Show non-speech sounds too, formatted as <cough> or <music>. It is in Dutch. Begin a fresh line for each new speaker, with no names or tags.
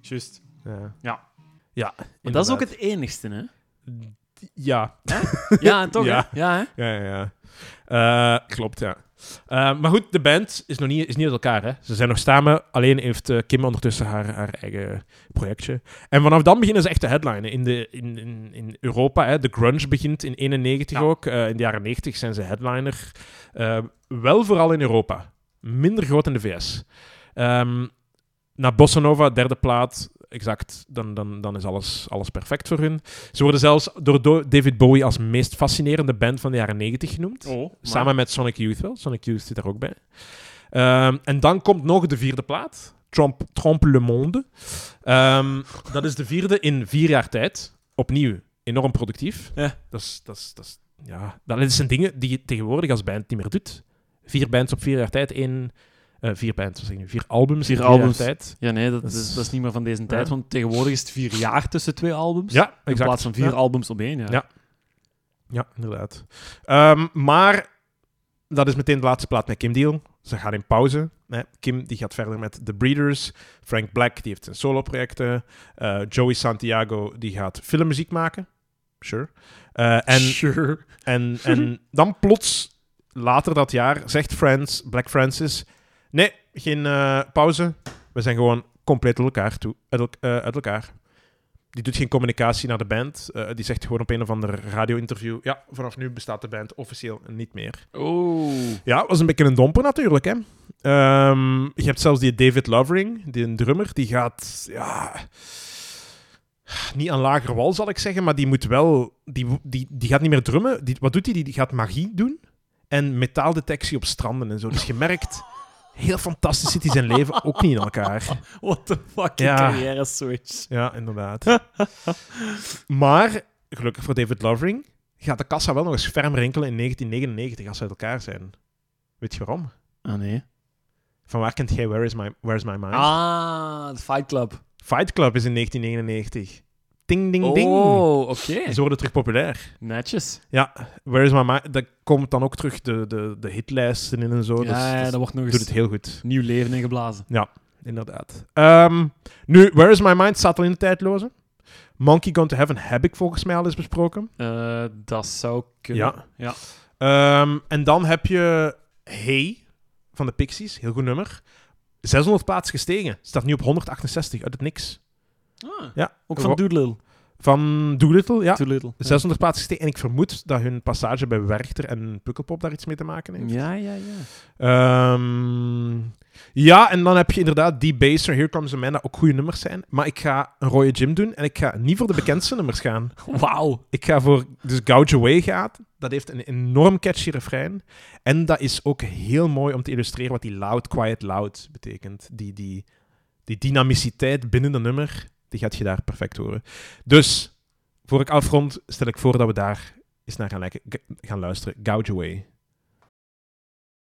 Juist.
Ja.
Ja.
Ja,
Maar dat is ook het enigste,
<laughs>
hè?
inderdaad. Ja,
Ja, toch?
Ja.
Hè? ja hè?
Ja, ja, ja. Eh, klopt, ja. Eh, maar goed, de band is nog niet, is niet uit elkaar, hè. Ze zijn nog samen, alleen heeft eh, Kim ondertussen haar, haar eigen projectje. En vanaf dan beginnen ze echt te headlinen. In, de, in, in, in Europa, hè, de grunge begint in 91
Ja.
ook. Eh, in de jaren 90 zijn ze headliner. Eh, wel vooral in Europa. Minder groot in de VS. Ehm na Bossa Nova, derde plaat, exact, dan, dan, dan is alles, alles perfect voor hun. Ze worden zelfs door Do- David Bowie als meest fascinerende band van de jaren 90 genoemd.
Oh, maar-
Samen met Sonic Youth wel. Sonic Youth zit daar ook bij. Ehm, en dan komt nog de vierde plaat. Tromp, Trompe le Monde. Ehm, dat is de vierde in vier jaar tijd. Opnieuw, enorm productief.
Ja.
Dat, is, dat, is, dat, is, ja. dat zijn dingen die je tegenwoordig als band niet meer doet. Vier bands op vier jaar tijd. één eh, vier bands, wat zeg ik nu? Vier albums
Vier
in
albums.
jaar tijd.
Ja, nee, dat,
Dat
is,
is-
dat is niet meer van deze tijd.
Ja.
Want tegenwoordig is het vier jaar tussen twee albums.
Ja, exact.
in plaats van vier
Ja.
albums op één, ja.
Ja. Ja, inderdaad. Ehm, maar dat is meteen de laatste plaat met Kim Deal. Ze gaan in pauze. Hè. Kim die gaat verder met The Breeders. Frank Black die heeft zijn soloprojecten. Eh Joey Santiago die gaat filmmuziek maken. Sure. Eh, en,
Sure.
en, en dan plots, later dat jaar, zegt Frans, Black Francis... Nee, geen eh, pauze. We zijn gewoon compleet uit elkaar, toe, uit, elk- eh, uit elkaar. Die doet geen communicatie naar de band. Eh, die zegt gewoon op een of ander radio-interview... Ja, vanaf nu bestaat de band officieel niet meer.
Oh.
Ja, was een beetje een domper natuurlijk, hè. Ehm, je hebt zelfs die David Lovering, die een drummer, die gaat... Ja, niet aan lager wal, zal ik zeggen, maar die moet wel... Die, die, die gaat niet meer drummen. Die, wat doet hij? Die, die gaat magie doen en metaaldetectie op stranden en zo. Dus je merkt, heel fantastisch zit hij zijn leven ook niet in elkaar.
What the fuck,
Ja.
carrière switch.
Ja, inderdaad. maar, gelukkig voor David Lovering, gaat de kassa wel nog eens ferm rinkelen in 1999 als ze uit elkaar zijn. Weet je waarom?
Ah, nee.
Van waar kent jij Where is My, Where's my Mind?
Ah, de Fight Club.
Fight Club is in 1999. Ding, ding, ding.
Oh, oké.
Ze worden terug populair.
Netjes.
Where is My Mind? Dat komt dan ook terug de, de, de hitlijsten in en zo. dus,
ja, ja,
dus
dat wordt nog
doet het
eens
heel goed.
nieuw leven ingeblazen.
Inderdaad. Ehm, nu, Where is My Mind staat al in de tijdloze. Monkey Gone to Heaven heb ik volgens mij al eens besproken.
Eh, dat zou kunnen.
Ja.
Ja.
Ehm, en dan heb je Hey van de Pixies. Heel goed nummer. 600 plaatsen gestegen. Staat nu op 168 uit het niks.
Ah,
Ja.
Ook van Doolittle.
Van Doolittle, ja.
Doolittle.
600 plaatsen gestegen. En ik vermoed dat hun passage bij Werchter en Pukkelpop daar iets mee te maken heeft.
Ja, ja, ja.
Ehm, ja, en dan heb je inderdaad die Baser, Here Comes a Man, dat ook goede nummers zijn. Maar ik ga een rode gym doen en ik ga niet voor de bekendste nummers gaan.
Wauw.
Ik ga voor, dus Gouge Away gaat. Dat heeft een enorm catchy refrein. En dat is ook heel mooi om te illustreren wat die loud, quiet, loud betekent. Die, die, die dynamiciteit binnen de nummer, die gaat je daar perfect horen. Dus, voor ik afrond, stel ik voor dat we daar eens naar gaan, lijken- g- gaan luisteren. Gouge Away